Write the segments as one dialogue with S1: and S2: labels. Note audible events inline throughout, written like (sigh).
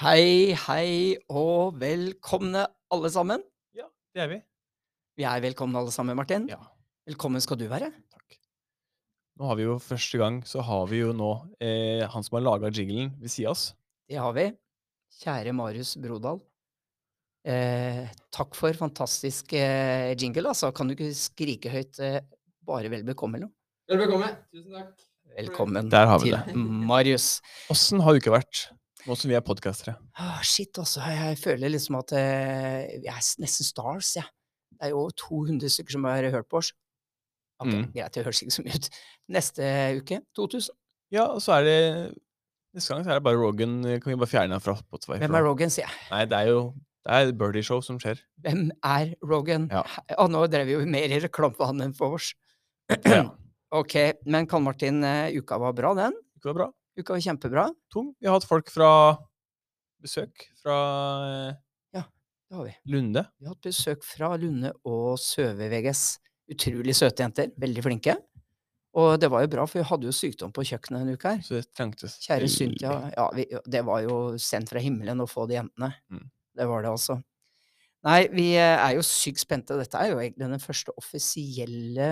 S1: Hei, hei og velkomne alle sammen.
S2: Ja, det er vi.
S1: Vi er velkomne alle sammen, Martin.
S2: Ja,
S1: Velkommen skal du være.
S2: takk. Nå har vi jo første gang, så har vi jo nå eh, han som har laga jinglen ved sida av oss.
S1: Det har vi. Kjære Marius Brodal. Eh, takk for fantastisk eh, jingle, altså. Kan du ikke skrike høyt eh, 'bare vel bekomme' eller noe?
S3: Vel bekomme. Tusen takk.
S1: Velkommen
S2: Der har vi
S1: til
S2: det.
S1: (laughs) Marius.
S2: Åssen har uka vært, nå som vi er podkastere?
S1: Ah, shit, altså. Jeg føler liksom at eh, vi er s- nesten stars, jeg. Det er jo 200 stykker som har hørt på oss. Ok,
S2: Mm.
S1: Greit, det høres ikke så mye ut. Neste uke 2000.
S2: Ja, og så er det Neste gang så er det bare Rogan. eh, Kan vi bare fjerne han fra Spotify?
S1: Hvem
S2: for
S1: er
S2: nå?
S1: Rogan, sier jeg.
S2: Nei, det er jo det er Birdie Show som (clears throat) skjer.
S1: Hvem er Rogan?
S2: Ja.
S1: He- Å, nå drev vi jo mer i reklame for han enn for oss.
S2: Ja.
S1: Ok, men Karl Martin, eh, uka var bra, den.
S2: Det var bra.
S1: Uka var kjempebra.
S2: Tung. Vi har hatt folk fra besøk fra eh,
S1: Det har vi.
S2: Lunde.
S1: Vi har hatt besøk fra Lunde og Søve VGS. Utrolig søte jenter. Veldig flinke. Og det var jo bra, for vi hadde jo sykdom på kjøkkenet denne uka her.
S2: Så det trengtes.
S1: Kjære
S2: veldig.
S1: Cynthia. Ja, vi, det var jo sendt fra himmelen å få de jentene.
S2: Mm.
S1: Det var det, altså. Nei, vi eh, er jo sykt spente. Dette er jo egentlig den første offisielle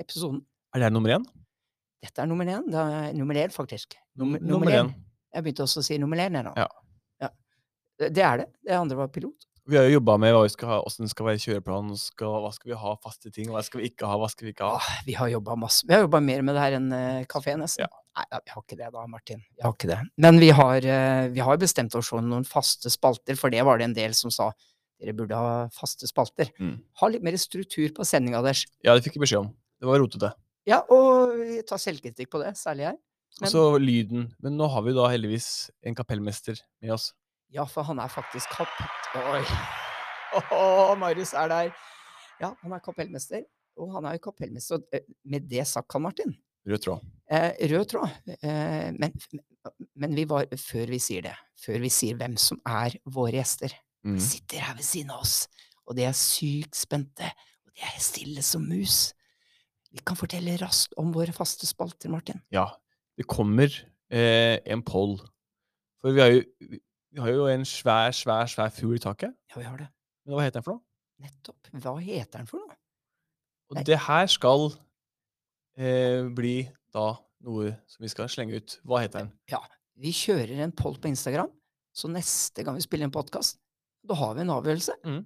S1: episoden.
S2: Er det her nummer én?
S1: Dette er nummer én. Det er nummer én, faktisk. Nummer, nummer
S2: Nummer én.
S1: Jeg begynte også å si nummer én, jeg nå.
S2: Ja.
S1: Ja. Det det er det. Det andre var pilot.
S2: Vi har jo jobba med hva vi skal ha, åssen skal være kjøreplanen, skal, hva skal vi ha faste ting, hva skal vi ikke ha, hva skal vi ikke ha.
S1: Åh, vi har jobba masse. Vi har jobba mer med det her enn eh, kafé, nesten.
S2: Ja.
S1: Nei, da, vi har ikke det da, Martin. Vi har ikke det. Men vi har, eh, vi har bestemt oss for noen faste spalter, for det var det en del som sa. Dere burde ha faste spalter.
S2: Mm.
S1: Ha litt mer struktur på sendinga deres.
S2: Ja, det fikk jeg beskjed om. Det var rotete.
S1: Ja, og vi tar selvkritikk på det, særlig jeg. Men-
S2: Og så lyden. Men nå har vi da heldigvis en kapellmester med oss.
S1: Ja, for han er faktisk kapp... Oi! Åh, Marius er der. Ja, han er kapellmester. Og han er jo kapellmester. og, eh, Med det sagt, Karl Martin.
S2: Rød tråd.
S1: Eh, rød tråd. Eh, men men vi var, før vi sier det, før vi sier hvem som er våre gjester,
S2: Mm.
S1: sitter her ved siden av oss, og de er sykt spente, og de er stille som mus. Vi kan fortelle raskt om våre faste spalter, Martin.
S2: Ja. Det kommer eh, en poll. For vi har jo, vi har jo en svær, svær, svær fugl i taket.
S1: Ja, vi har det.
S2: Men hva heter den for noe?
S1: Nettopp. Hva heter den for noe? Nei.
S2: Og det her skal eh, bli da noe som vi skal slenge ut. Hva heter den?
S1: Vi kjører en poll på Instagram, så neste gang vi spiller en podkast, da har vi en avgjørelse.
S2: Mm.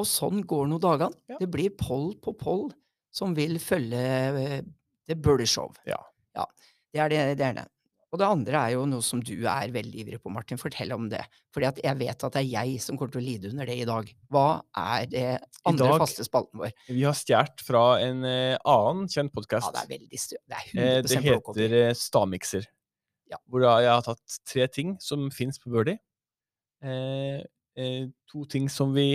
S1: Og sånn går nå dagene.
S2: Ja.
S1: Det blir poll på poll som vil følge eh, The Burley Show.
S2: Ja.
S1: Ja, Det er det, det er det. Og det andre er jo noe som du er veldig ivrig på, Martin. Fortell om det. Fordi at jeg vet at det er jeg som kommer til å lide under det i dag. Hva er det andre
S2: dag-
S1: faste spalten vår?
S2: Vi har stjålet fra en eh, annen kjent podkast.
S1: Ja, det er veldig stø. Det er
S2: Eh,
S1: 100
S2: Det
S1: blåkopi.
S2: heter eh, stavmikser.
S1: Ja.
S2: Hvor da jeg har tatt tre ting som fins på Birdie. Eh, eh, to ting som vi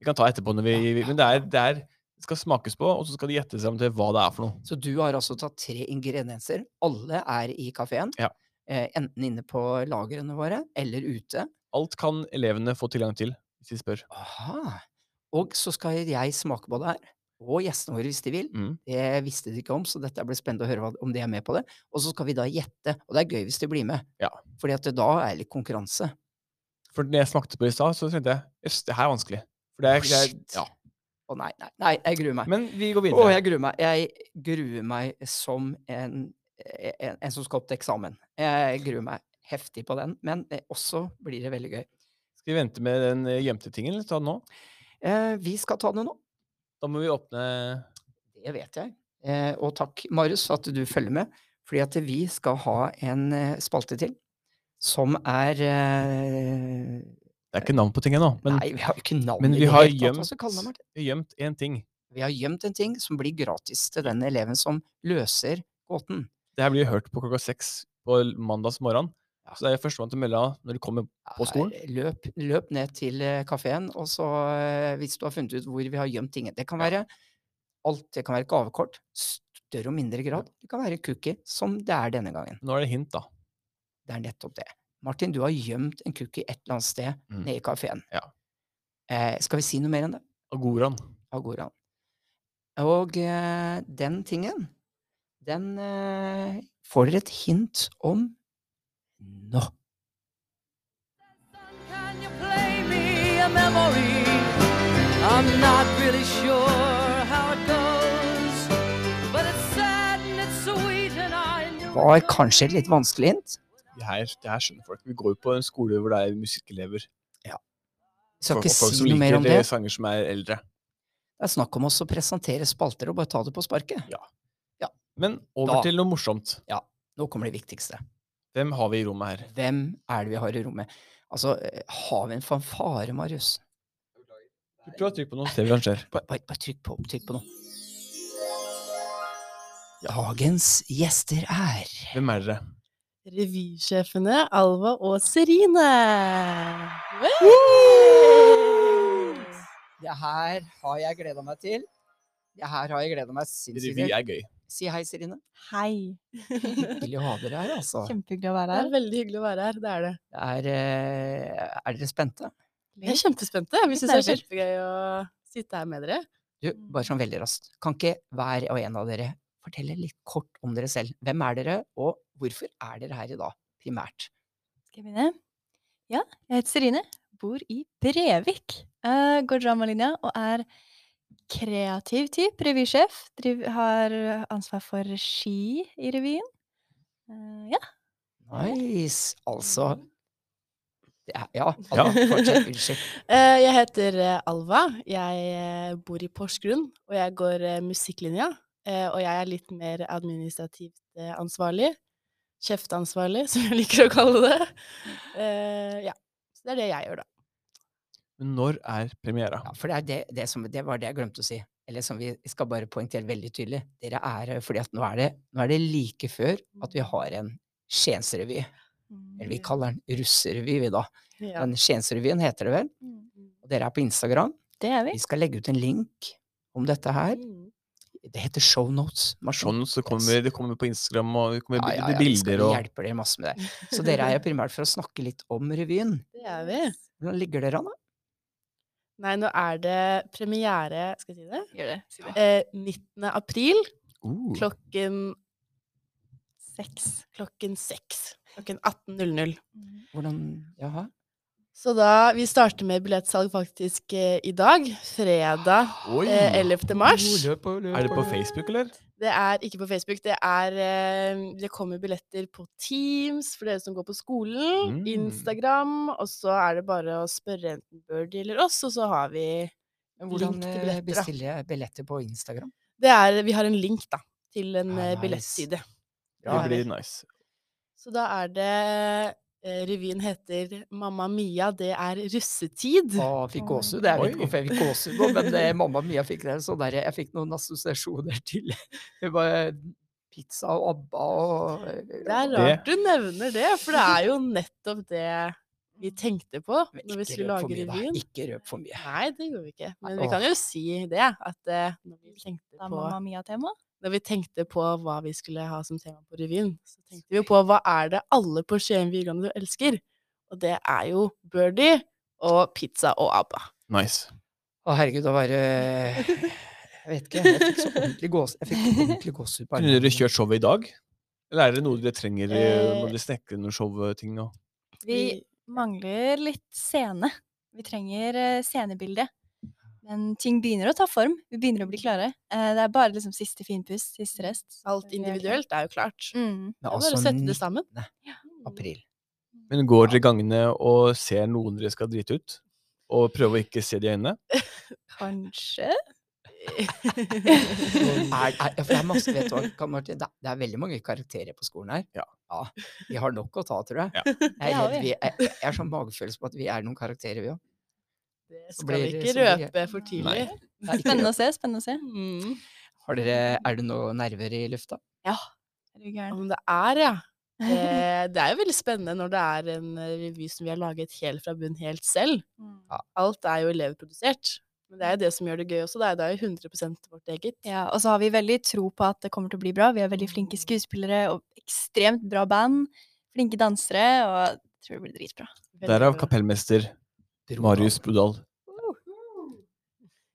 S2: Vi kan ta etterpå, når vi,
S1: Ja,
S2: vi-
S1: ja,
S2: men det er,
S1: ja.
S2: det er det skal smakes på, og så skal de gjette seg om til hva det er for noe.
S1: Så du har altså tatt tre ingredienser. Alle er i kafeen.
S2: Ja.
S1: Eh, enten inne på lagrene våre, eller ute.
S2: Alt kan elevene få tilgang til, hvis de spør.
S1: Aha. Og så skal jeg smake på det her. Og gjestene våre, hvis de vil.
S2: Mm.
S1: Det visste de ikke om, så dette blir spennende å høre hva- om de er med på det. Og så skal vi da gjette. Og det er gøy hvis de blir med.
S2: Ja.
S1: Fordi at det da er litt konkurranse.
S2: For når jeg smakte på det i stad, så tenkte jeg jøss, det her er vanskelig. For det er,
S1: Å,
S2: det er,
S1: shit.
S2: ja.
S1: Å nei, nei, nei, jeg gruer meg.
S2: Men vi går
S1: Å,
S2: videre.
S1: jeg gruer meg. Jeg gruer meg som en, e, en, en som skal opp til eksamen. Jeg gruer meg heftig på den, men eh, også blir det veldig gøy.
S2: Skal vi vente med den eh, gjemte tingen, eller ta den nå?
S1: Eh, vi skal ta det nå.
S2: Da må vi åpne
S1: Det vet jeg. Eh, og takk, Marius, for at du følger med. Fordi at vi skal ha en eh, spalte til som er eh,
S2: Det er ikke navn på ting ennå, men
S1: Nei, vi har jo ikke navn
S2: men
S1: i
S2: vi
S1: det
S2: har
S1: hele tatt, hva skal vi kalle den, Martin?
S2: gjemt- vi har gjemt én ting.
S1: Vi har gjemt en ting som blir gratis til den eleven som løser gåten.
S2: Det her blir hørt på klokka seks på l- mandags morgen.
S1: Ja.
S2: Så det er førstemann til å melde av når de kommer. På skolen?
S1: Eh, Løp, løp ned til kafeen, og så, eh, hvis du har funnet ut hvor vi har gjemt tingene Det kan være alt. Det kan være gavekort. Større og mindre grad. Det kan være cookie, som det er denne gangen.
S2: Nå er det hint, da.
S1: Det er nettopp det. Martin, du har gjemt en cookie et eller annet sted
S2: Mm.
S1: nede i kafeen.
S2: Ja.
S1: Eh, skal vi si noe mer enn det?
S2: Agoraen.
S1: Av går an. Og eh, den tingen, den eh, får dere et hint om nå.
S3: I'm not really sure how it goes, but it's sad and it's sweet and I know.
S1: Var kanskje et litt vanskeligint.
S2: Det her, det her skjønner folk. Vi går jo på en skole hvor det er musikkelever.
S1: Skal
S2: Folk-
S1: ikke
S2: folk
S1: si
S2: som
S1: noe mer
S2: liker
S1: om det.
S2: eh, sanger som er eldre.
S1: Det er snakk om oss å presentere spalter og bare ta det på sparket.
S2: Men over
S1: Da-
S2: til noe morsomt.
S1: Nå kommer det viktigste.
S2: Hvem har vi i rommet her?
S1: Hvem er det vi har i rommet? Altså, eh, har vi en fanfare, Marius?
S2: Prøv å trykke på noe, se hva som skjer.
S1: Bare, bare, bare trykk på, trykk på nå. Dagens gjester er
S2: Hvem er dere?
S4: Revysjefene Alva og Serine.
S1: Det her har jeg gleda meg til. Det her har jeg gleda meg
S2: Revy
S1: sinnssykt til.
S2: er gøy.
S1: Si hei, Serine.
S5: Hei.
S1: Hyggelig å ha dere her, altså.
S5: Kjempehyggelig å
S4: Det
S5: være
S4: er
S5: her.
S4: veldig hyggelig å være her. Det er det.
S1: Det Er, eh, er dere spente?
S4: Vi er kjempespente. Vi
S5: Litt
S4: syns det er kjempegøy å sitte her med dere.
S1: Du, bare sånn veldig raskt. Kan ikke hver og en av dere fortelle litt kort om dere selv? Hvem er dere, og hvorfor er dere her i dag, primært?
S5: Skal jeg begynne? Ja, jeg heter Serine, bor i Brevik. eh, går dramalinja og er kreativ type, revysjef. Driv, har ansvar for regi i revyen. Eh, ja.
S1: Nice! Altså det er, Ja,
S2: Ja.
S1: Anna, fortsett. Unnskyld.
S4: Eh, Jeg heter eh, Alva. Jeg eh, bor i Porsgrunn, og jeg går eh, musikklinja. Eh, Og jeg er litt mer administrativt eh, ansvarlig. Kjeftansvarlig, (laughs) som jeg liker å kalle det. Eh, Ja. Så det er det jeg gjør, da.
S2: Men når er premiera?
S1: Ja, for det, er det, det, som, det var det jeg glemte å si. Eller som vi skal bare poengtere veldig tydelig. Dere er her fordi at nå er det, nå er det like før at vi har en Skiensrevy. Eller vi kaller den russerevy, vi da.
S4: Ja.
S1: Men Skiensrevyen heter det vel.
S5: Mm.
S1: Og dere er på Instagram.
S5: Det er vi.
S1: Vi skal legge ut en link om dette her.
S4: Mm.
S1: Det heter shownotes.
S2: Sånn så kommer, det kommer på Instagram, og det kommer bilder
S1: Vi
S2: og
S1: hjelper dere masse med det. Så dere er her primært for å snakke litt om revyen.
S4: Det er vi.
S1: Hvordan ligger dere an, da?
S4: Nei, nå er det premiere, skal jeg si det,
S5: Gjør det. Si det.
S4: eh, 19. april
S2: Uh,
S4: klokken,
S5: Seks.
S4: klokken 6. Klokken 18.00.
S5: Mm.
S1: Hvordan Jaha.
S4: Så da, vi starter med billettsalg faktisk eh, i dag, fredag
S2: Oi!
S4: eh, 11. mars.
S2: Er det på Facebook, eller?
S4: Det er ikke på Facebook, det er eh, Det kommer billetter på Teams for dere som går på skolen,
S2: Mm.
S4: Instagram, og så er det bare å spørre enten Birdie eller oss, og så har vi
S1: Men Hvordan
S4: Link til
S1: eh,
S4: billetter, da.
S1: bestiller jeg billetter på
S4: (laughs)
S1: Instagram?
S4: Det er Vi har en link, da, til en
S1: Ah,
S4: eh,
S1: nice.
S4: billettside.
S2: Det
S1: Ja,
S2: blir nice.
S4: Så da er det eh, Revyen heter 'Mamma Mia, det er russetid'.
S1: Å, fikk gåsehud. Jeg vet ikke
S2: Oi.
S1: hvorfor jeg fikk gåsehud nå, men det, mamma mia fikk det. Så der, jeg fikk noen assosiasjoner til (laughs) det var eh, pizza og ABBA og eh,
S4: Det er rart du nevner det, for det er jo nettopp det vi tenkte på
S1: (laughs) Men
S4: når vi
S1: ikke
S4: skulle
S1: røp
S4: lage
S1: for mye, da.
S4: revyen.
S1: Ikke røp for mye.
S4: Nei, det gjorde vi ikke. Men
S1: Åh.
S4: vi kan jo si det, at eh, når, vi
S5: Da
S4: tenkte
S5: er
S4: på,
S5: Mamma Mia-tema.
S4: når vi tenkte på hva vi skulle ha som tema på revyen, så tenkte vi jo på hva er det alle på Skien videregående elsker? Og det er jo Birdie og pizza og ABBA.
S2: Nice.
S1: Å, herregud, da var det Jeg vet ikke. Jeg fikk så ordentlig gås- jeg fikk ordentlig gåsehud på
S2: Kunne dere
S1: armene.
S2: kjørt showet i dag? Eller er det noe dere trenger eh,
S4: Eh,
S2: når dere snekrer noen showting? Og...
S5: Vi mangler litt scene. Vi trenger eh, scenebilde. Men ting begynner å ta form. Vi begynner å bli klare. Eh, det er bare liksom siste finpust, siste rest. så
S4: Mm. Alt
S5: vi er klare.
S4: individuelt er jo klart.
S5: Mm.
S1: Men
S4: Det er
S1: altså,
S4: bare å sette det
S1: 19. (laughs)
S4: sammen. (laughs)
S1: april.
S2: Men går dere gangene og ser noen dere skal drite ut? Og prøver å ikke se de i øynene?
S4: (laughs)
S5: Kanskje
S1: Er, er, ja, for det er masse, vet du hva, Karl Martin, det, er- det er veldig mange karakterer på skolen her.
S2: Ja.
S1: Vi har nok å ta, tror jeg.
S2: Ja.
S1: Jeg, er
S5: Det har
S1: redd
S5: vi.
S1: vi- jeg, jeg har sånn magefølelse på at vi er noen karakterer, vi òg.
S4: Det
S1: Så
S4: skal vi
S1: blir-
S4: ikke
S1: så blir-
S4: røpe for tidlig.
S5: Spennende å se, spennende å se.
S4: Mm.
S1: Har dere, er det noe nerver i lufta?
S5: Er du gæren?
S4: Om det er, ja. Eh, Det er jo veldig spennende når det er en eh, revy som vi har laget helt fra bunn helt selv.
S5: Mm.
S4: Alt er jo elevprodusert. Men det er jo det som gjør det gøy også. Det er- Det er jo 100 vårt eget.
S5: Ja, og så har vi veldig tro på at det kommer til å bli bra. Vi er veldig flinke
S4: Mm.
S5: skuespillere og ekstremt bra band. Flinke dansere, og jeg tror det blir dritbra.
S4: Veldig
S2: Derav
S4: bra.
S2: kapellmester Marius Brodal.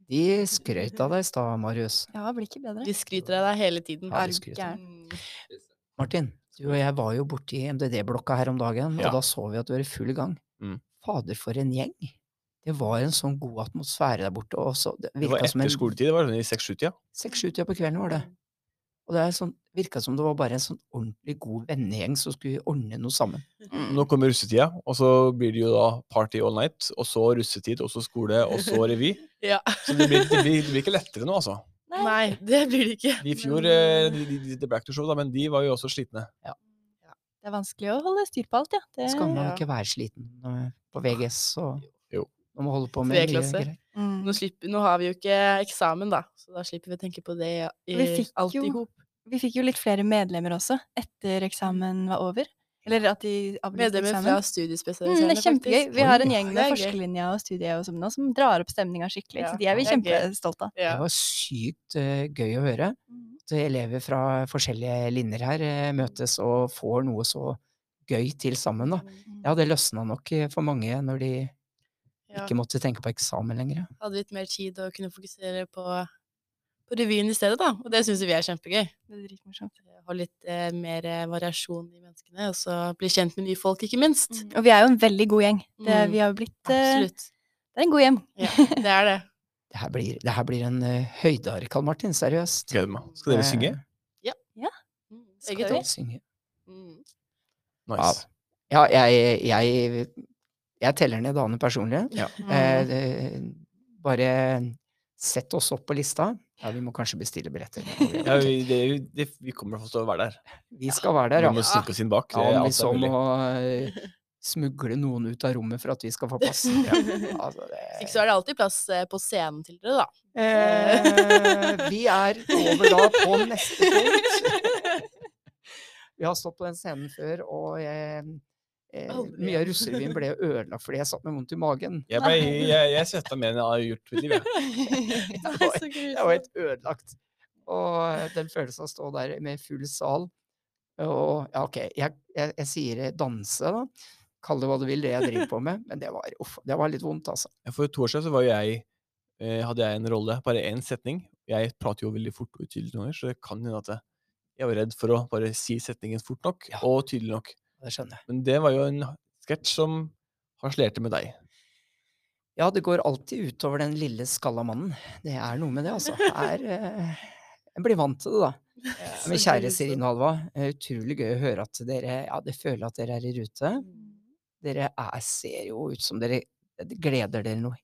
S1: De skrøt av deg i stad, Marius.
S5: Ja, det blir ikke bedre.
S4: De skryter av deg hele tiden.
S1: Ja, de
S5: Er du
S1: skryter.
S5: gæren?
S4: Mm.
S1: Martin, du og jeg var jo borti MDD-blokka her om dagen,
S2: Ja.
S1: og da så vi at du var i full gang.
S2: Mm.
S1: Fader, for en gjeng. Det var en sånn god atmosfære der borte. Og så det
S2: Det var
S1: virka som
S2: etter
S1: en
S2: skoletid, det var sånn i seks-sju-tida.
S1: Seks-sju-tida på kvelden var det. Og det er sånn, virka som det var bare en sånn ordentlig god vennegjeng som skulle ordne noe sammen.
S2: Nå kommer russetida, og så blir det jo da party all night, og så russetid, og så skole, og så revy.
S4: Ja.
S2: Så det blir, det blir, det blir ikke lettere nå, altså.
S4: Nei, det blir det ikke.
S2: De I fjor, eh,
S4: Men,
S2: de, de, de, The Black to Show, da, men de var jo også slitne.
S5: Det er vanskelig å holde styr på alt, ja. Det,
S1: Skal man
S4: Ja.
S1: ikke være sliten eh, på VGS og
S2: Jo.
S1: man må holde på med mye
S4: Treklasser.
S1: greier?
S5: Mm.
S4: Nå, slipper, nå har vi jo ikke eksamen, da, så da slipper vi å tenke på det i,
S5: Vi fikk
S4: alt
S5: jo-
S4: i hop.
S5: Vi fikk jo litt flere medlemmer også, etter eksamen var over. Eller at de avlyste
S4: Medlemmer fra
S5: eksamen.
S4: studiespesialiserende.
S5: Mm, det er kjempegøy.
S4: faktisk.
S5: Vi har en gjeng
S4: Ja,
S5: med
S4: det er gøy.
S5: forskerlinja og studiet og sånn nå, som drar opp stemninga skikkelig.
S4: Ja,
S5: Så de er vi
S4: det er gøy.
S5: kjempestolte av.
S4: Ja.
S1: Det var sykt eh, gøy å høre. At elever fra forskjellige linjer her eh, møtes og får noe så gøy til sammen. Da. Ja, det løsna nok eh, for mange når de
S4: Ja.
S1: ikke måtte tenke på eksamen lenger. ja.
S4: Hadde litt mer tid og kunne fokusere på, på revyen i stedet, da. Og det syns vi er kjempegøy.
S5: Det er dritmorsomt.
S4: Ha litt eh, mer eh, variasjon i menneskene, og så bli kjent med nye folk, ikke minst.
S5: Mm. Og vi er jo en veldig god gjeng. Det,
S4: Mm.
S5: vi har jo blitt eh,
S4: Absolutt.
S5: Det er en god gjeng.
S4: Ja, det er
S5: (laughs)
S4: det.
S1: Det her blir, det her blir en eh, høydare, Karl Martin. Seriøst.
S2: Gleder meg. Skal dere synge?
S1: Eh,
S4: Mm,
S5: Skal
S4: Begge
S5: vi?
S4: to.
S1: synge.
S4: Mm.
S2: Nice.
S1: Ja, jeg, jeg, jeg teller ned dagene personlig. Eh,
S4: Mm.
S1: det- bare sett oss opp på lista. Ja, vi må kanskje bestille billetter. men
S2: (laughs)
S1: det
S2: Ja,
S1: går ikke.
S2: vi, det, det, vi kommer i hvert fall til å være der.
S1: Vi skal være der,
S2: Vi
S1: ja.
S2: må snikke oss inn bak.
S1: Ja,
S2: det er
S1: om vi
S2: alt
S1: så
S2: er mulig.
S1: må eh, smugle noen ut av rommet for at vi skal få
S2: (laughs)
S1: plass. Ja, altså
S4: Hvis
S1: det,
S4: Ikke så er det alltid plass eh, på scenen til dere,
S5: (laughs)
S4: da. (laughs)
S1: Eh, vi er over da på neste punkt.
S4: (laughs)
S1: Vi har stått på den scenen før, og eh, eh,
S4: Aldri.
S1: mye av russerevyen ble jo ødelagt fordi jeg satt med vondt i magen.
S2: Jeg, ble, jeg, jeg svetta mer enn jeg har gjort i mitt liv. jeg.
S1: Jeg var, jeg var helt ødelagt. Og eh, den følelsen av å stå der med full sal og Ja, ok, jeg, jeg, jeg sier danse, da. Kall det hva du vil, det jeg driver på med. Men det var, uff, det var litt vondt, altså.
S2: Ja, For to år siden så var jo jeg, eh, hadde jeg en rolle, bare én setning. Jeg prater jo veldig fort og utydelig noen ganger, så det kan hende at jeg, jeg var redd for å bare si setningen fort nok
S1: Ja.
S2: og tydelig nok.
S1: Det skjønner jeg.
S2: Men det var jo en sketsj som harselerte med deg.
S1: Ja, det går alltid utover den lille skalla mannen. Det er noe med det, altså. Det Er, eh, en blir vant til det, da.
S4: Så
S1: Men kjære
S4: grusomt.
S1: Serine og Alva, eh, utrolig gøy å høre at dere ja, det føler at dere er i rute.
S4: Mm.
S1: Dere er, ser jo ut som dere gleder dere noe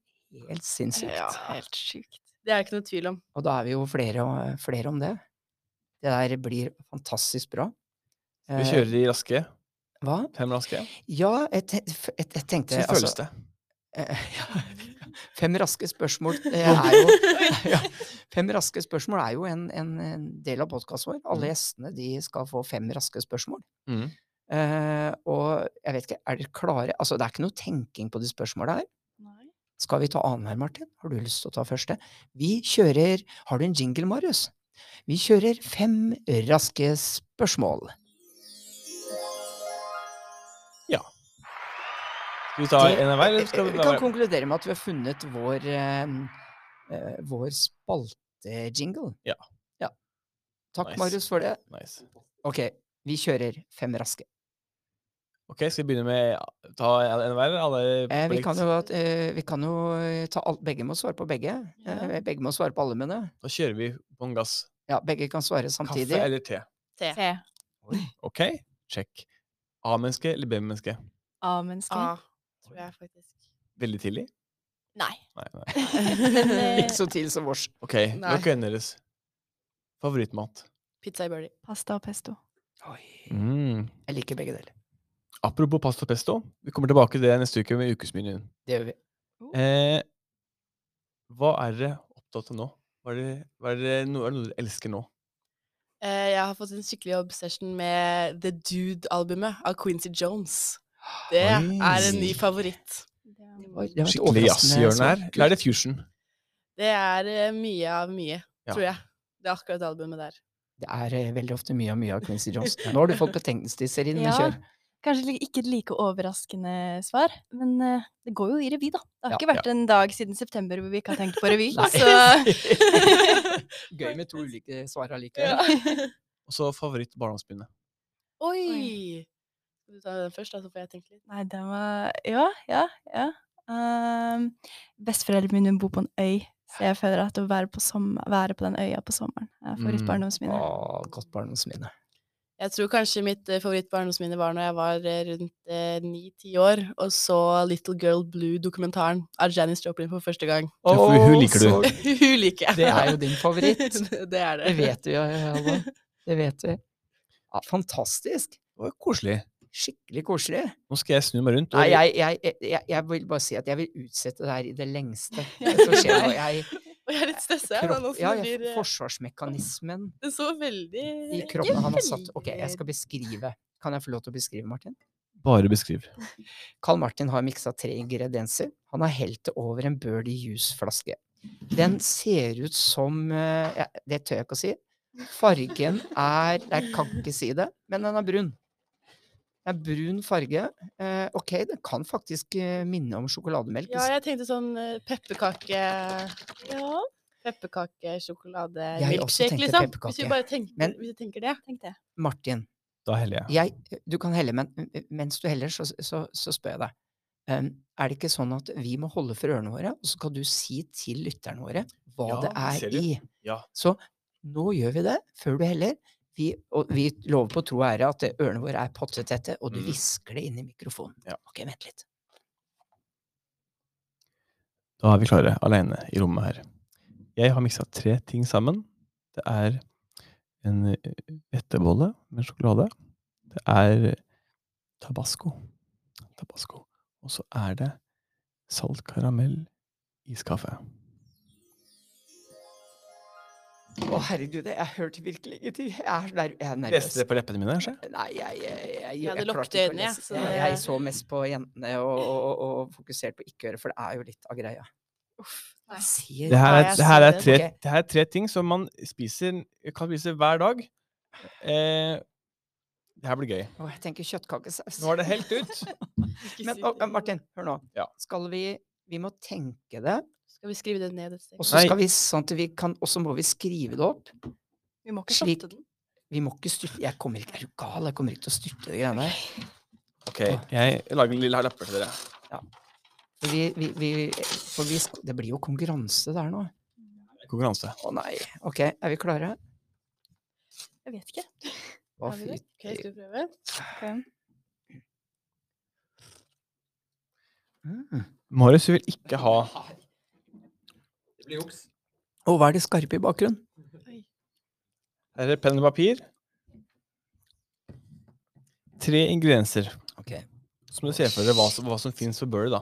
S1: helt sinnssykt.
S4: Ja.
S5: Helt sjukt.
S4: Det er ikke noe tvil om.
S1: Og da er vi jo flere, og- flere om det. Det der blir fantastisk bra.
S2: Vi
S1: Eh,
S2: kjører i raske.
S1: Hva?
S2: Fem raske.
S1: Ja, jeg, te f- jeg, jeg tenkte altså
S2: Hvordan føles det?
S1: Eh, ja. (laughs) Fem raske spørsmål eh, er
S2: (laughs)
S1: jo (laughs) ja. Fem raske spørsmål er jo en, en, en del av podkasten vår.
S2: Mm.
S1: Alle gjestene de skal få fem raske spørsmål.
S2: Mm.
S1: Eh, og jeg vet ikke, er dere klare? Altså, det er ikke noe tenking på de spørsmåla her. Skal vi ta annenhver, Martin? Har du lyst til å ta første? Vi kjører Har du en jingle, Marius? Vi kjører fem raske spørsmål.
S2: Skal vi ta
S1: Det-
S2: en av hver? eller
S1: Eh,
S2: Skal vi
S1: Vi kan konkludere med at vi har funnet vår, eh, eh, vår spaltejingle.
S2: Ja.
S1: ja. Takk,
S2: Nice.
S1: Marius, for det.
S2: nice.
S1: Ok, vi kjører fem raske.
S2: Ok, skal vi begynne med ta en av hver? Alle
S1: Eh,
S2: på
S1: vi,
S2: likt?
S1: kan jo, at, eh, vi kan jo eh, ta alt, Begge må svare på begge.
S4: Ja.
S1: Eh, begge må svare på alle mine.
S2: Da kjører vi bånn gass.
S1: Ja, begge kan svare
S2: Kaffe
S1: samtidig.
S2: eller te?
S4: Te.
S5: Se.
S2: Ok, check. A-menneske eller B-menneske?
S5: A-menneske.
S4: A, tror jeg faktisk.
S2: Veldig tidlig?
S5: Nei.
S2: Nei, nei.
S5: (laughs) Men
S1: (laughs)
S5: eh,
S1: Ikke så tidlig som vårs.
S2: Ok, det var
S4: Nei.
S2: ikke øynene deres. Favorittmat.
S4: (laughs) Pizza i birdie.
S5: pasta og pesto.
S1: Oi, Jeg liker begge deler.
S2: Mm, Apropos pasta pesto, vi kommer tilbake til det neste uke med ukesmenyen.
S1: Det gjør vi.
S2: Eh, hva er dere opptatt av nå? Hva er det, hva er det, noe, er det noe dere elsker nå?
S4: Eh, Jeg har fått en skikkelig obsession med The Dude-albumet av Quincy Jones. Det
S2: Oi.
S4: er en ny favoritt.
S1: Oi, det var et
S2: Skikkelig
S1: overraskende sånn
S2: jazzhjørne
S1: svar.
S2: her. Eller er det fusion?
S4: Det er eh, mye av mye,
S2: Ja.
S4: tror jeg. Det er akkurat det albumet
S1: (laughs)
S4: der.
S1: Det er eh, veldig ofte mye og mye av Quincy Jones. Nå har du fått betenkningstiser inn, men
S5: Ja.
S1: kjør.
S5: Kanskje li- ikke et like overraskende svar, men eh, det går jo i revy, da. Det har
S1: Ja.
S5: ikke vært en dag siden september hvor vi ikke har tenkt på revy.
S1: (laughs) Nei.
S5: så
S1: Gøy med to ulike svar
S4: (laughs)
S1: allikevel.
S4: Ja.
S2: Og så favoritt barndomsminne.
S4: Oi! Skal du ta den først, da, så får jeg tenke litt?
S5: Nei, den var Ja, ja, ja. Um, Besteforeldrene mine bor på en øy, så jeg føler at å være på, sommer, være på den øya på sommeren er
S2: Mm.
S5: favorittbarndomsminnet.
S1: Å, godt barndomsminne.
S4: Jeg tror kanskje mitt eh, favorittbarndomsminne var når jeg var eh, rundt ni-ti år og så Little Girl Blue-dokumentaren av Janis Joplin for første gang. (laughs)
S2: Ja, for hun liker du.
S1: så-
S4: Hun liker jeg.
S1: Det er jo din favoritt.
S4: (laughs) det er det.
S1: Det vet vi, alle. Det vet vi. Ja, fantastisk.
S2: Det var koselig.
S1: Skikkelig koselig.
S2: Nå skal jeg snu meg rundt. og-
S1: Nei, jeg, jeg, jeg- jeg, jeg vil bare si at jeg vil utsette det her i det
S4: (laughs)
S1: lengste. Det som skjer nå. Jeg,
S4: Og jeg er litt stressa. jeg, da, nå
S1: kropp,
S4: som
S1: ja,
S4: det
S1: jeg,
S4: blir, eh,
S1: forsvarsmekanismen
S4: Det så veldig
S1: i kroppen han har satt Ok, jeg skal beskrive. Kan jeg få lov til å beskrive, Martin?
S2: Bare beskriv.
S1: Carl Martin har miksa tre ingredienser. Han har helt det over en Birdie Juice-flaske. Den ser ut som eh, ja, Det tør jeg ikke å si. Fargen er Jeg kan ikke si det, men den er brun. Det er brun farge. Eh, ok, den kan faktisk eh, minne om sjokolademelk.
S4: Ja, jeg tenkte sånn eh, pepperkake Ja. Pepperkake, sjokolade,
S1: Jeg også
S4: milkshake,
S1: tenkte
S4: liksom. Hvis vi
S1: pepperkake.
S4: bare tenker,
S1: Men-
S4: hvis vi tenker det.
S5: Tenk det.
S1: Martin,
S2: Da heller jeg.
S1: jeg, du kan helle, men men mens du heller, så, så, så spør jeg deg. Um, er det ikke sånn at vi må holde for ørene våre, og så skal du si til lytterne våre hva
S2: Ja,
S1: det
S2: ser
S1: er
S2: du?
S1: i?
S2: Ja.
S1: Så nå gjør vi det, før du heller. Vi, og vi lover på tro og ære at det- ørene våre er pottetette, og du
S2: Mm.
S1: hvisker det inn i mikrofonen.
S2: Ja.
S1: Ok, vent litt.
S2: Da er vi klare, alene i rommet her. Jeg har miksa tre ting sammen. Det er en eh, hvetebolle med sjokolade. Det er tabasco. Tabasco. Og så er det salt karamell iskaffe.
S1: Å herregud, jeg hørte virkelig ingenting. Jeg er, så nerv- jeg er nervøs.
S2: Leste det på leppene mine? kanskje?
S1: Nei, jeg, jeg, jeg,
S4: Jeg hadde
S1: klarte
S4: lukket
S1: ikke å
S4: øynene, jeg,
S1: lese.
S4: så
S1: jeg,
S4: det-
S1: jeg så mest på jentene og, og, og, og fokusert på ikke-øret, for det er jo litt av greia.
S4: nei.
S1: Jeg ser-
S2: Det her
S4: Ja,
S2: er,
S4: jeg
S2: det her
S4: så
S2: er,
S4: det.
S2: tre,
S1: Ok.
S2: det her er tre ting som man spiser, kan spise hver dag. Eh, det her blir gøy.
S1: Å, jeg tenker kjøttkakesaus.
S2: Nå er det helt ut.
S4: Ikke
S1: Men
S4: si
S1: å,
S4: det.
S1: Martin, hør nå.
S2: Ja.
S1: Skal vi Vi må tenke det,
S4: Skal vi skrive det ned et sted?
S1: og så
S2: Nei.
S1: skal vi sånn at vi kan Og så må vi skrive det opp.
S5: Vi må ikke
S1: Slik-
S5: stoppe den.
S1: Vi må ikke styrte Jeg kommer ikke Er du gal? Jeg kommer ikke til å styrte de greiene her.
S2: Ok, (laughs) jeg lager en lille lapper til dere.
S1: For Vi, vi, vi, for vi skal, det blir jo konkurranse der nå.
S2: Konkurranse.
S1: Å nei. Ok, er vi klare?
S5: Jeg vet ikke.
S1: Å,
S5: Er vi
S1: fy
S5: det?
S4: Ok, skal vi prøve?
S5: Ok.
S1: mm.
S2: Marius vil ikke ha
S1: Å, hva er det skarpe i bakgrunnen?
S2: Her er penn og papir. Tre ingredienser.
S1: Ok.
S2: Så må du se for dere hva som, hva som fins på burdet, da.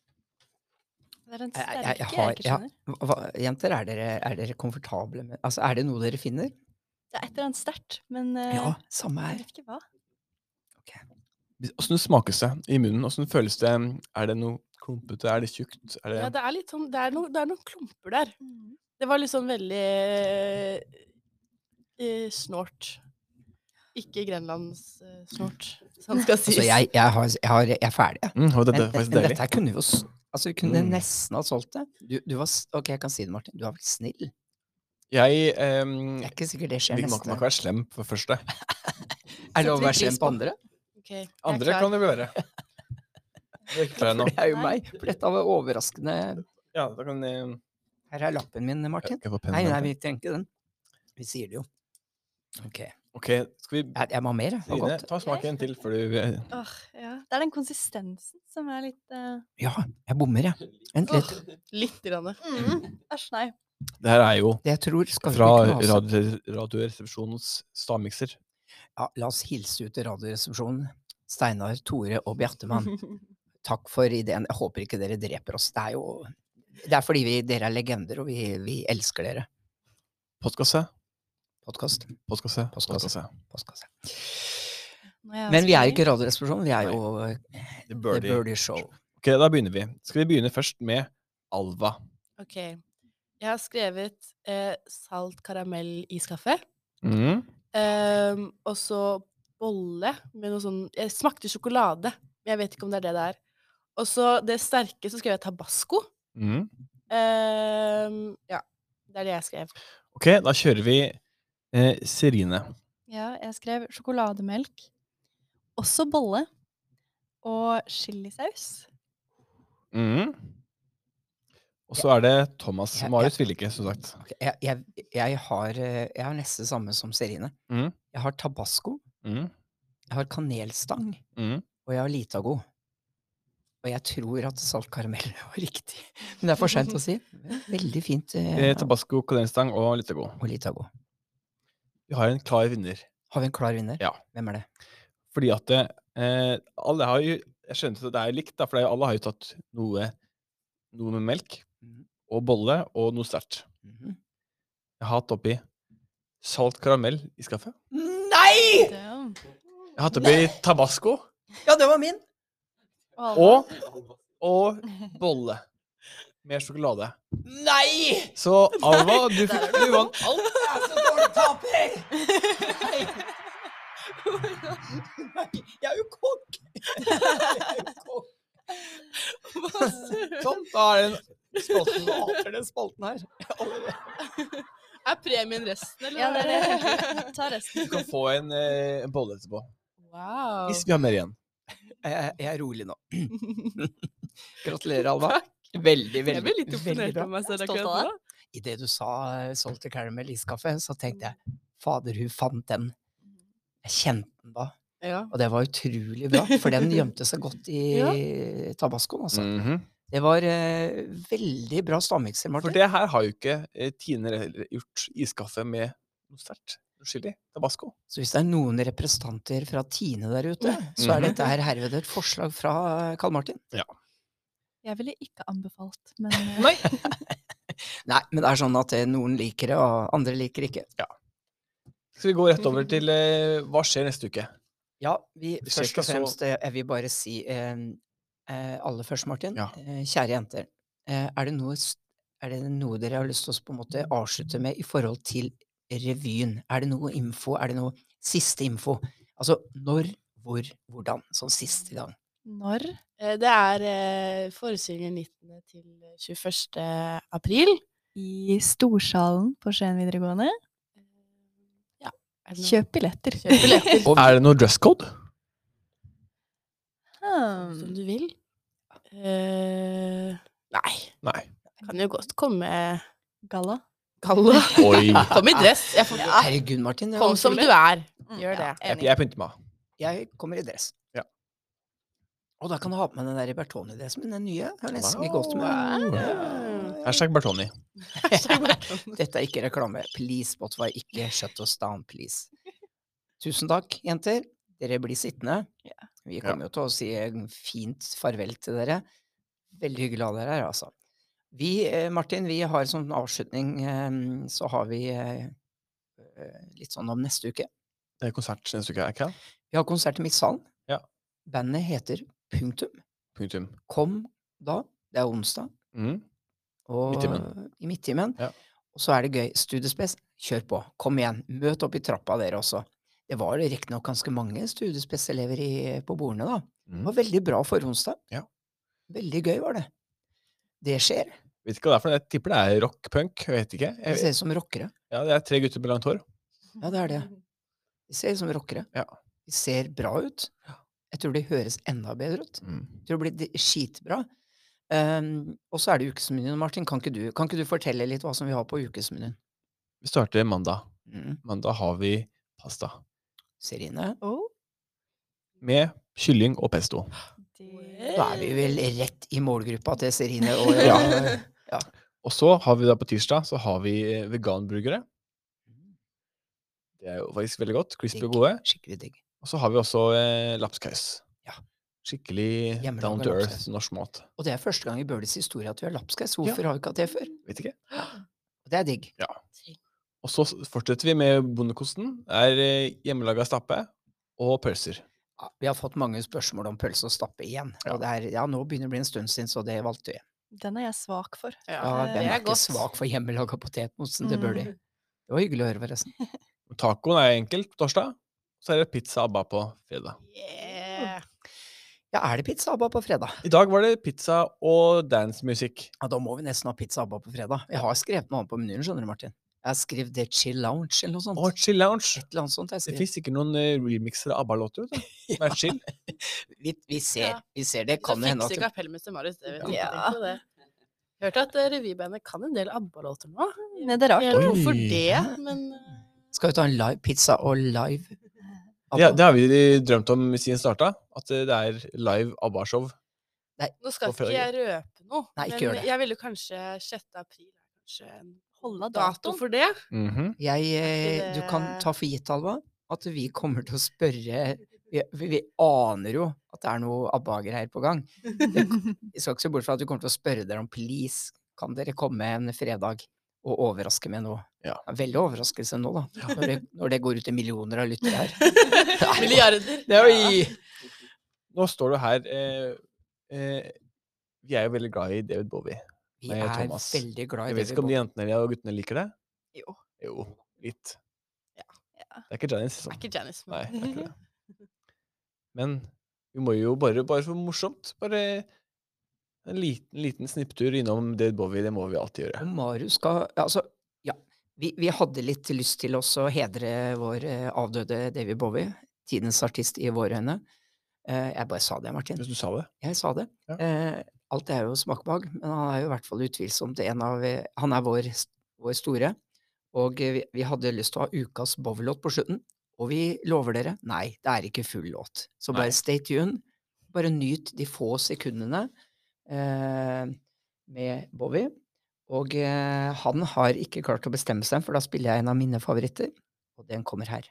S5: Det er den
S1: Jeg- jeg- jeg
S5: sterke jeg,
S1: har-
S5: ikke
S1: ja.
S5: skjønner.
S1: Hva, hva- jenter, er dere, er dere komfortable med Altså, er det noe dere finner?
S5: Det er et eller annet sterkt, men eh,
S1: Ja, samme her.
S5: jeg vet ikke hva.
S2: Åssen smakes det i munnen? Åssen føles det? Er det noe klumpete? Er det tjukt? Er
S4: Ja,
S2: det
S4: det er litt sånn Det er, noe- det er noen klumper der.
S5: Mm.
S4: Det var liksom veldig eh, snort. Ikke grenlandssnort, uh, sånn skal sies.
S1: Altså, jeg, jeg, har, jeg, har, jeg er ferdig. jeg.
S2: mm,
S1: Men,
S2: og Dette er
S1: men
S2: faktisk
S1: men
S2: deilig.
S1: dette her kunne vi jo s- Altså, vi kunne
S2: Mm.
S1: nesten ha solgt det. Du, du var s- Ok, jeg kan si det, Martin. Du var veldig snill.
S2: Jeg um,
S1: Det er ikke sikkert det skjer
S2: Man
S1: neste
S2: kan ikke være slem på første.
S1: Er det lov å
S5: vi
S1: være
S5: pris
S1: slem på andre?
S4: Ok, jeg er
S2: Andre
S4: klar.
S2: kan det være. Det er ikke klar ennå.
S1: (laughs) For (laughs) det er jo
S5: Nei.
S1: meg. For dette var overraskende
S2: Ja, da kan jeg,
S1: Her er lappen min, Martin.
S2: jeg få pennen
S1: Nei, nei,
S2: her.
S1: vi trenger ikke den. Vi sier det jo. Ok. Jeg,
S2: Ok, skal vi
S1: jeg må ha mer, jeg. Det var
S2: Trine,
S1: godt.
S2: ta smaken til før du eh,
S5: Åh, ja. Det er den konsistensen som er litt eh,
S1: Ja, jeg bommer, jeg. Vent litt.
S4: Åh, litt. Grann.
S5: Æsj, nei.
S2: Det her er jo
S1: Det jeg tror skal vi
S2: fra
S1: ikke ha oss-
S2: radio, Radioresepsjonens stavmikser.
S1: Ja, la oss hilse ut til Radioresepsjonen. Steinar, Tore og
S2: Mhm.
S1: Bjartemann, takk for ideen. Jeg håper ikke dere dreper oss. Det er jo Det er fordi vi, dere er legender, og vi, vi elsker dere.
S2: Postkasse,
S1: Podkast.
S2: postkasse,
S1: Postkasse.
S2: postkasse.
S1: Postkasse.
S5: Nå jeg
S1: Men vi er jo
S5: spent.
S1: ikke Radioresepsjonen, vi er jo eh,
S2: The
S1: The
S2: Birdie.
S1: Birdie Show.
S2: Ok, da begynner vi. Skal vi begynne først med Alva.
S4: (laughs) Ok. Jeg har skrevet eh, salt karamell iskaffe.
S2: Mm.
S4: Um, og så bolle med noe sånn Jeg smakte sjokolade, men jeg vet ikke om det er det det er. Og så det sterke, så skrev jeg tabasco.
S2: Mm.
S4: Um, ja. Det er det jeg skrev.
S2: Ok, da kjører vi eh, Serine.
S5: Ja, jeg skrev sjokolademelk. Også bolle. og chilisaus.
S2: Mm. Og så er det Thomas.
S1: Ja, ja.
S2: Marius ville ikke, som sagt.
S1: Ok, Jeg, jeg, jeg, har, eh, jeg har nesten samme som Serine.
S2: Mm.
S1: Jeg har tabasco,
S2: Mm.
S1: jeg har kanelstang,
S2: Mm.
S1: og jeg har litago. Og jeg tror at salt karamell (laughs) var riktig. Men det er for seint å si. Veldig fint. eh,
S2: Eh, Tabasco, kanelstang og Litago.
S1: Og litago.
S2: Vi har en klar vinner.
S1: Har vi en klar vinner?
S2: Ja.
S1: Hvem er det?
S2: Fordi at det, eh, alle har jo Jeg skjønte at det er likt, da, for det er jo- alle har jo tatt noe, noe med melk
S1: Mhm.
S2: og bolle og noe sterkt.
S1: Mhm.
S2: Jeg har hatt oppi salt karamell i skaffet.
S1: Nei!
S5: Damn.
S2: Jeg har hatt oppi tabasco
S1: Ja, det var min!
S2: og, og bolle med sjokolade.
S1: Nei!
S2: Så Alva, du, fikk, du vant
S1: Alt er så dårlig taper! Nei! Nei, jeg er jo kokk!
S2: Sånn, da er den spalten
S1: Hater den spalten her.
S4: Er premien resten, eller?
S5: (laughs) Ja, det er det jeg tenker. Ta resten.
S2: Du kan få en, eh, en bolle etterpå.
S4: (laughs) Wow.
S2: Hvis vi har mer igjen.
S1: Jeg, jeg er (laughs) rolig nå. Gratulerer, Alva. Veldig,
S4: Jeg ble
S1: veldig,
S4: litt
S1: veldig
S4: imponert
S1: bra.
S4: av meg selv
S5: Stolt av
S4: akkurat nå.
S1: Idet du sa eh, Salty Caramel iskaffe, så tenkte jeg fader, hun fant den. Jeg kjente den da,
S4: Ja.
S1: og det var utrolig bra, for den gjemte seg godt
S2: (laughs)
S1: i tabascoen. Altså.
S2: Mhm.
S1: Det var eh, veldig bra stavmikser,
S2: For
S1: Martin.
S2: det her har jo ikke eh, Tine heller gjort iskaffe med noe sterkt. noe Chili. Tabasco.
S1: Så hvis det er noen representanter fra Tine der ute, så er
S2: Mhm.
S1: dette her herved et forslag fra eh, Karl Martin.
S5: Jeg ville ikke anbefalt, men eh,
S2: Nei.
S1: Nei, men det er sånn at eh, noen liker det, og andre liker ikke.
S2: Skal vi gå rett over til eh, hva skjer neste uke?
S1: Ja, vi,
S2: Vi ser
S1: først og
S2: ikke så-
S1: fremst eh, jeg vil bare si eh, eh, alle først, Martin.
S2: Ja.
S1: Eh, kjære jenter. Eh, er, det noe, s- er det noe dere har lyst til å s- på en måte avslutte med i forhold til revyen? Er det noe info? Er det noe siste info? Altså når, hvor, hvordan? Sånn siste
S2: (laughs)
S1: gang.
S5: når
S4: Eh, Det er eh, forestillingen 19. til 21. april.
S5: i Storsalen på Skien videregående.
S4: Eh, Er det noe-
S5: Kjøp billetter.
S4: Kjøp
S5: (laughs)
S4: billetter
S2: Er det noe dress code?
S4: som
S5: Hmm.
S4: du vil. Eh, nei.
S2: Nei.
S4: Kan jo godt komme
S5: Galla.
S4: galla.
S2: Oi.
S4: Kom i dress. Jeg får,
S1: Herregud, Martin. det var
S4: Kom som
S1: utrolig.
S4: du er. Gjør
S5: Ja,
S4: det.
S2: Jeg,
S5: enig.
S2: jeg pynter meg.
S1: Jeg kommer i dress.
S2: Ja.
S1: Og da kan du ha på meg den der Bertone-dressen min, den nye. Jeg har nesten ikke gått
S2: Wow.
S1: med.
S2: Hashtag Bertoni.
S1: Dette er ikke reklame. Please, Spotify, ikke shut us down, please. Tusen takk, jenter. Dere blir sittende. Vi kommer jo til å si en fint farvel til dere. Veldig hyggelig å ha dere her, altså. Vi, eh, Martin, vi har som avslutning, eh, så har vi eh, eh, litt sånn om neste uke.
S2: Det er konsert neste uke, er ikke det?
S1: Vi har konsert i Midtsalen.
S2: Ja.
S1: Bandet heter Punktum.
S2: Punktum.
S1: Kom da. Det er onsdag.
S2: Mm.
S1: Og,
S2: Midttimen.
S1: I midttimen.
S2: Ja.
S1: Og så er det gøy. Studiespes, kjør på. Kom igjen. Møt opp i trappa, dere også. Det var riktignok ganske mange studiespes-elever i- på bordene, da. Det
S2: Mm.
S1: var veldig bra for onsdag.
S2: Ja.
S1: Veldig gøy var det. Det skjer.
S2: Vet ikke hva det er for noe. Jeg tipper det er rock punk. Jeg vet ikke.
S1: De
S2: Jeg,
S1: ser ut som rockere.
S2: ja, det er tre gutter med langt hår.
S1: Ja, det er det. De ser ut som rockere.
S2: Ja.
S1: De ser bra ut. Jeg tror de høres enda bedre ut.
S2: Mm.
S1: Jeg tror det blir dri- skitbra. Ehm, og så er det ukesmenyen, Martin. Kan ikke, du, kan ikke du fortelle litt hva som vi har på ukesmenyen?
S2: Vi starter mandag.
S1: Mm.
S2: Mandag har vi pasta.
S1: Serine?
S5: Oh,
S2: Med kylling og pesto.
S5: det.
S1: Da er vi vel rett i målgruppa til Serine og
S2: Ja.
S1: og-
S2: Og så har vi da på tirsdag så har vi eh, veganburgere. Det er jo faktisk veldig godt. Crispy og gode.
S1: Skikkelig digg.
S2: Og så har vi også eh, lapskaus.
S1: Ja.
S2: Skikkelig
S1: Hjemmelaga
S2: down to earth
S1: lapskaus.
S2: norsk mat.
S1: Og det er første gang i Bøhlers historie at vi har lapskaus. Hvorfor har vi ikke hatt det før?
S2: Vet ikke.
S1: Og det er digg.
S2: Og så s- fortsetter vi med bondekosten. Det er eh, hjemmelaga stappe og pølser.
S1: Ja, vi har fått mange spørsmål om pølse og stappe igjen.
S2: Ja.
S1: Og det er, ja, nå begynner det å bli en stund siden, så det valgte vi.
S5: Den er jeg svak for.
S1: Ja,
S4: det
S1: Hvem er
S4: er
S1: ikke
S4: godt.
S1: svak for hjemmelaga potetmosen til
S5: Mm.
S1: Bøhler? Det var hyggelig å høre, forresten.
S2: Tacoen er enkel på torsdag. Så er det pizza abba på fredag.
S4: Yeah.
S1: Ja, er det pizza Abba på fredag?
S2: I dag var det pizza og dancemusikk.
S1: Ja, da må vi nesten ha pizza Abba på fredag. Jeg har skrevet noe annet på menyen, skjønner du, Martin. Jeg har skrevet The Chill Lounge eller noe sånt.
S2: Å, Chill Lounge.
S1: Et eller annet sånt. har Jeg
S2: Det
S1: skrevet.
S2: fins ikke noen eh, remixer av ABBA-låter. vet du.
S1: Ja.
S2: Som er chill.
S1: Vi, vi, ser,
S4: Ja.
S1: vi ser det.
S4: Så
S1: Kan det hende at
S4: fikser
S1: du
S4: kapellmester Marius, det vet
S5: Ja.
S4: jeg ikke. Det. Hørte at eh, revybandet kan en del ABBA-låter nå.
S5: Nei, det er rart.
S4: Jeg vet ikke hvorfor
S2: Oi.
S4: det, men eh,
S1: skal ut og ha en live pizza og
S2: (laughs)
S1: live
S2: Det,
S1: ABBA.
S2: det har vi eh, drømt om siden starta. At eh, det er live ABBA-show.
S4: nå skal
S2: På fredag.
S4: ikke jeg røpe noe.
S1: Nei, ikke gjør
S4: men
S1: det.
S4: jeg ville kanskje 6. april er kanskje en
S5: Holde
S4: dato
S5: datoen.
S4: for det.
S1: Jeg, eh, du kan ta for gitt, Alva, at vi kommer til å spørre Vi, vi vi aner jo at det er noe ABBA-greier på gang. Det, jeg skal ikke se bort fra at vi kommer til å spørre dere om please, kan dere komme en fredag og overraske med noe?
S2: Ja.
S1: Det er Veldig overraskelse nå, da. Når
S2: (laughs)
S1: det, når det går ut til millioner av lyttere her.
S4: Milliarder.
S1: Det er jo
S2: Nå står du her eh, eh, Vi er jo veldig glad i David Bowie.
S1: Vi
S2: Nei,
S1: er
S2: Thomas.
S1: veldig glad i
S2: Jeg
S1: det
S2: vet
S1: vi
S2: ikke om
S1: går-
S2: de jentene eller guttene liker det?
S5: Jo.
S2: Jo, litt.
S4: Ja.
S5: Ja.
S2: Det er ikke Janice,
S4: Det er
S2: liksom.
S4: ikke Janice.
S2: Nei,
S4: Men.
S2: det er ikke det. (laughs) Men vi må jo bare, bare for morsomt, bare en liten, liten snipptur innom David Bowie. Det må vi alltid gjøre.
S1: Og Marius skal Altså, ja. Vi, vi hadde litt lyst til også å hedre vår eh, avdøde Davy Bowie. Tidens artist i våre øyne. Eh, jeg bare sa det, Martin.
S2: Hvis du sa det.
S1: Jeg sa det.
S2: Ja.
S1: Eh, alt er jo smakbag, men han er jo i hvert fall utvilsomt en av eh, Han er vår, s- vår store. Og eh, vi, vi hadde lyst til å ha ukas Bowie-låt på slutten. Og vi lover dere, nei, det er ikke full låt. Så
S2: Nei.
S1: bare stay tuned. Bare nyt de få sekundene eh, med Bowie. Og eh, han har ikke klart å bestemme seg, for da spiller jeg en av mine favoritter. Og den kommer her.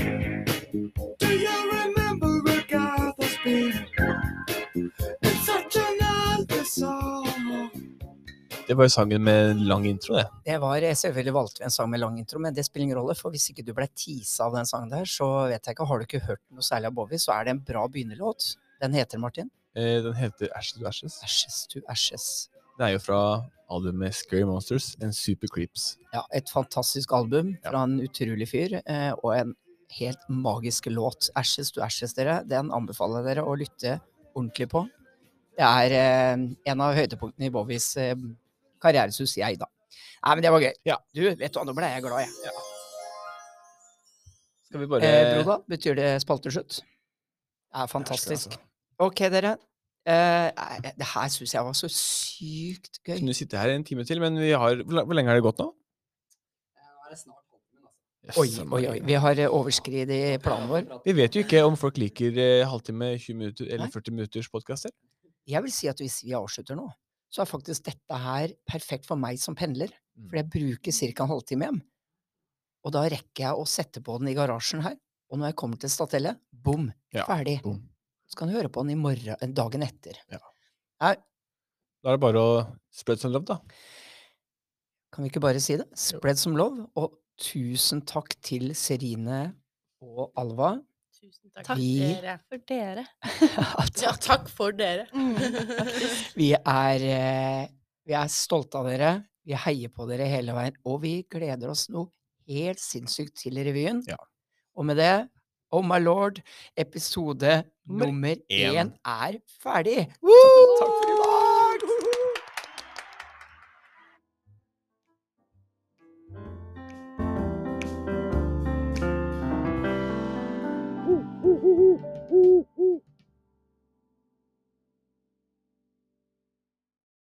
S6: Do you remember a guy that's been in such another song?
S2: Det var jo sangen med en lang intro, det.
S1: Det var eh, selvfølgelig valgte vi en sang med lang intro, men det spiller ingen rolle, for hvis ikke du ble teasa av den sangen der, så vet jeg ikke, har du ikke hørt noe særlig av Bowie, så er det en bra begynnerlåt. Den heter, Martin,
S2: Eh, Den heter Ashes to Ashes.
S1: Ashes to Ashes.
S2: Det er jo fra albumet Scary Monsters and Super Creeps.
S1: Ja, et fantastisk album
S2: Ja.
S1: fra en utrolig fyr, eh, og en helt magisk låt. Ashes to Ashes, dere. Den anbefaler jeg dere å lytte ordentlig på. Det er eh, en av høydepunktene i Bowies eh, karriere, syns jeg, da. Nei, men det var gøy.
S2: Ja.
S1: Du, vet du hva, nå ble jeg glad, jeg.
S2: Skal vi bare
S1: Eh, Broda, betyr det spalteslutt? Det er altså. fantastisk. Ok, dere. Eh, nei, det her syns jeg var så sykt gøy.
S2: kunne sitte her en time til, men vi har Hvor la- hvor lenge har det gått nå?
S1: Oi,
S2: Jøsse
S1: oi, oi.
S2: Maria.
S1: Vi har eh, overskridet planen vår.
S2: Vi vet jo ikke om folk liker eh, halvtime, 20 minutter eller
S1: Nei.
S2: 40 minutters podkaster.
S1: Jeg vil si at hvis vi avslutter nå, så er faktisk dette her perfekt for meg som pendler. For jeg bruker ca. en halvtime hjem. Og da rekker jeg å sette på den i garasjen her. Og når jeg kommer til Statelle, bom,
S2: Ja,
S1: ferdig.
S2: bom.
S1: Så kan du høre på den i morgen, dagen etter.
S2: Da er det bare å spread some love, da.
S1: Kan vi ikke bare si det? Spread som love. Og tusen takk til Serine og Alva.
S4: (laughs) Tusen takk,
S1: Takk.
S4: dere.
S5: For dere.
S4: Ja, takk for (laughs) dere.
S5: Mm.
S1: Vi er, eh, vi er stolte av dere. Vi heier på dere hele veien. Og vi gleder oss noe helt sinnssykt til revyen.
S2: Ja.
S1: Og med det, Oh my lord, episode
S2: Nummer
S1: nummer
S2: én.
S1: én er ferdig!
S2: Takk for i dag! Woohoo!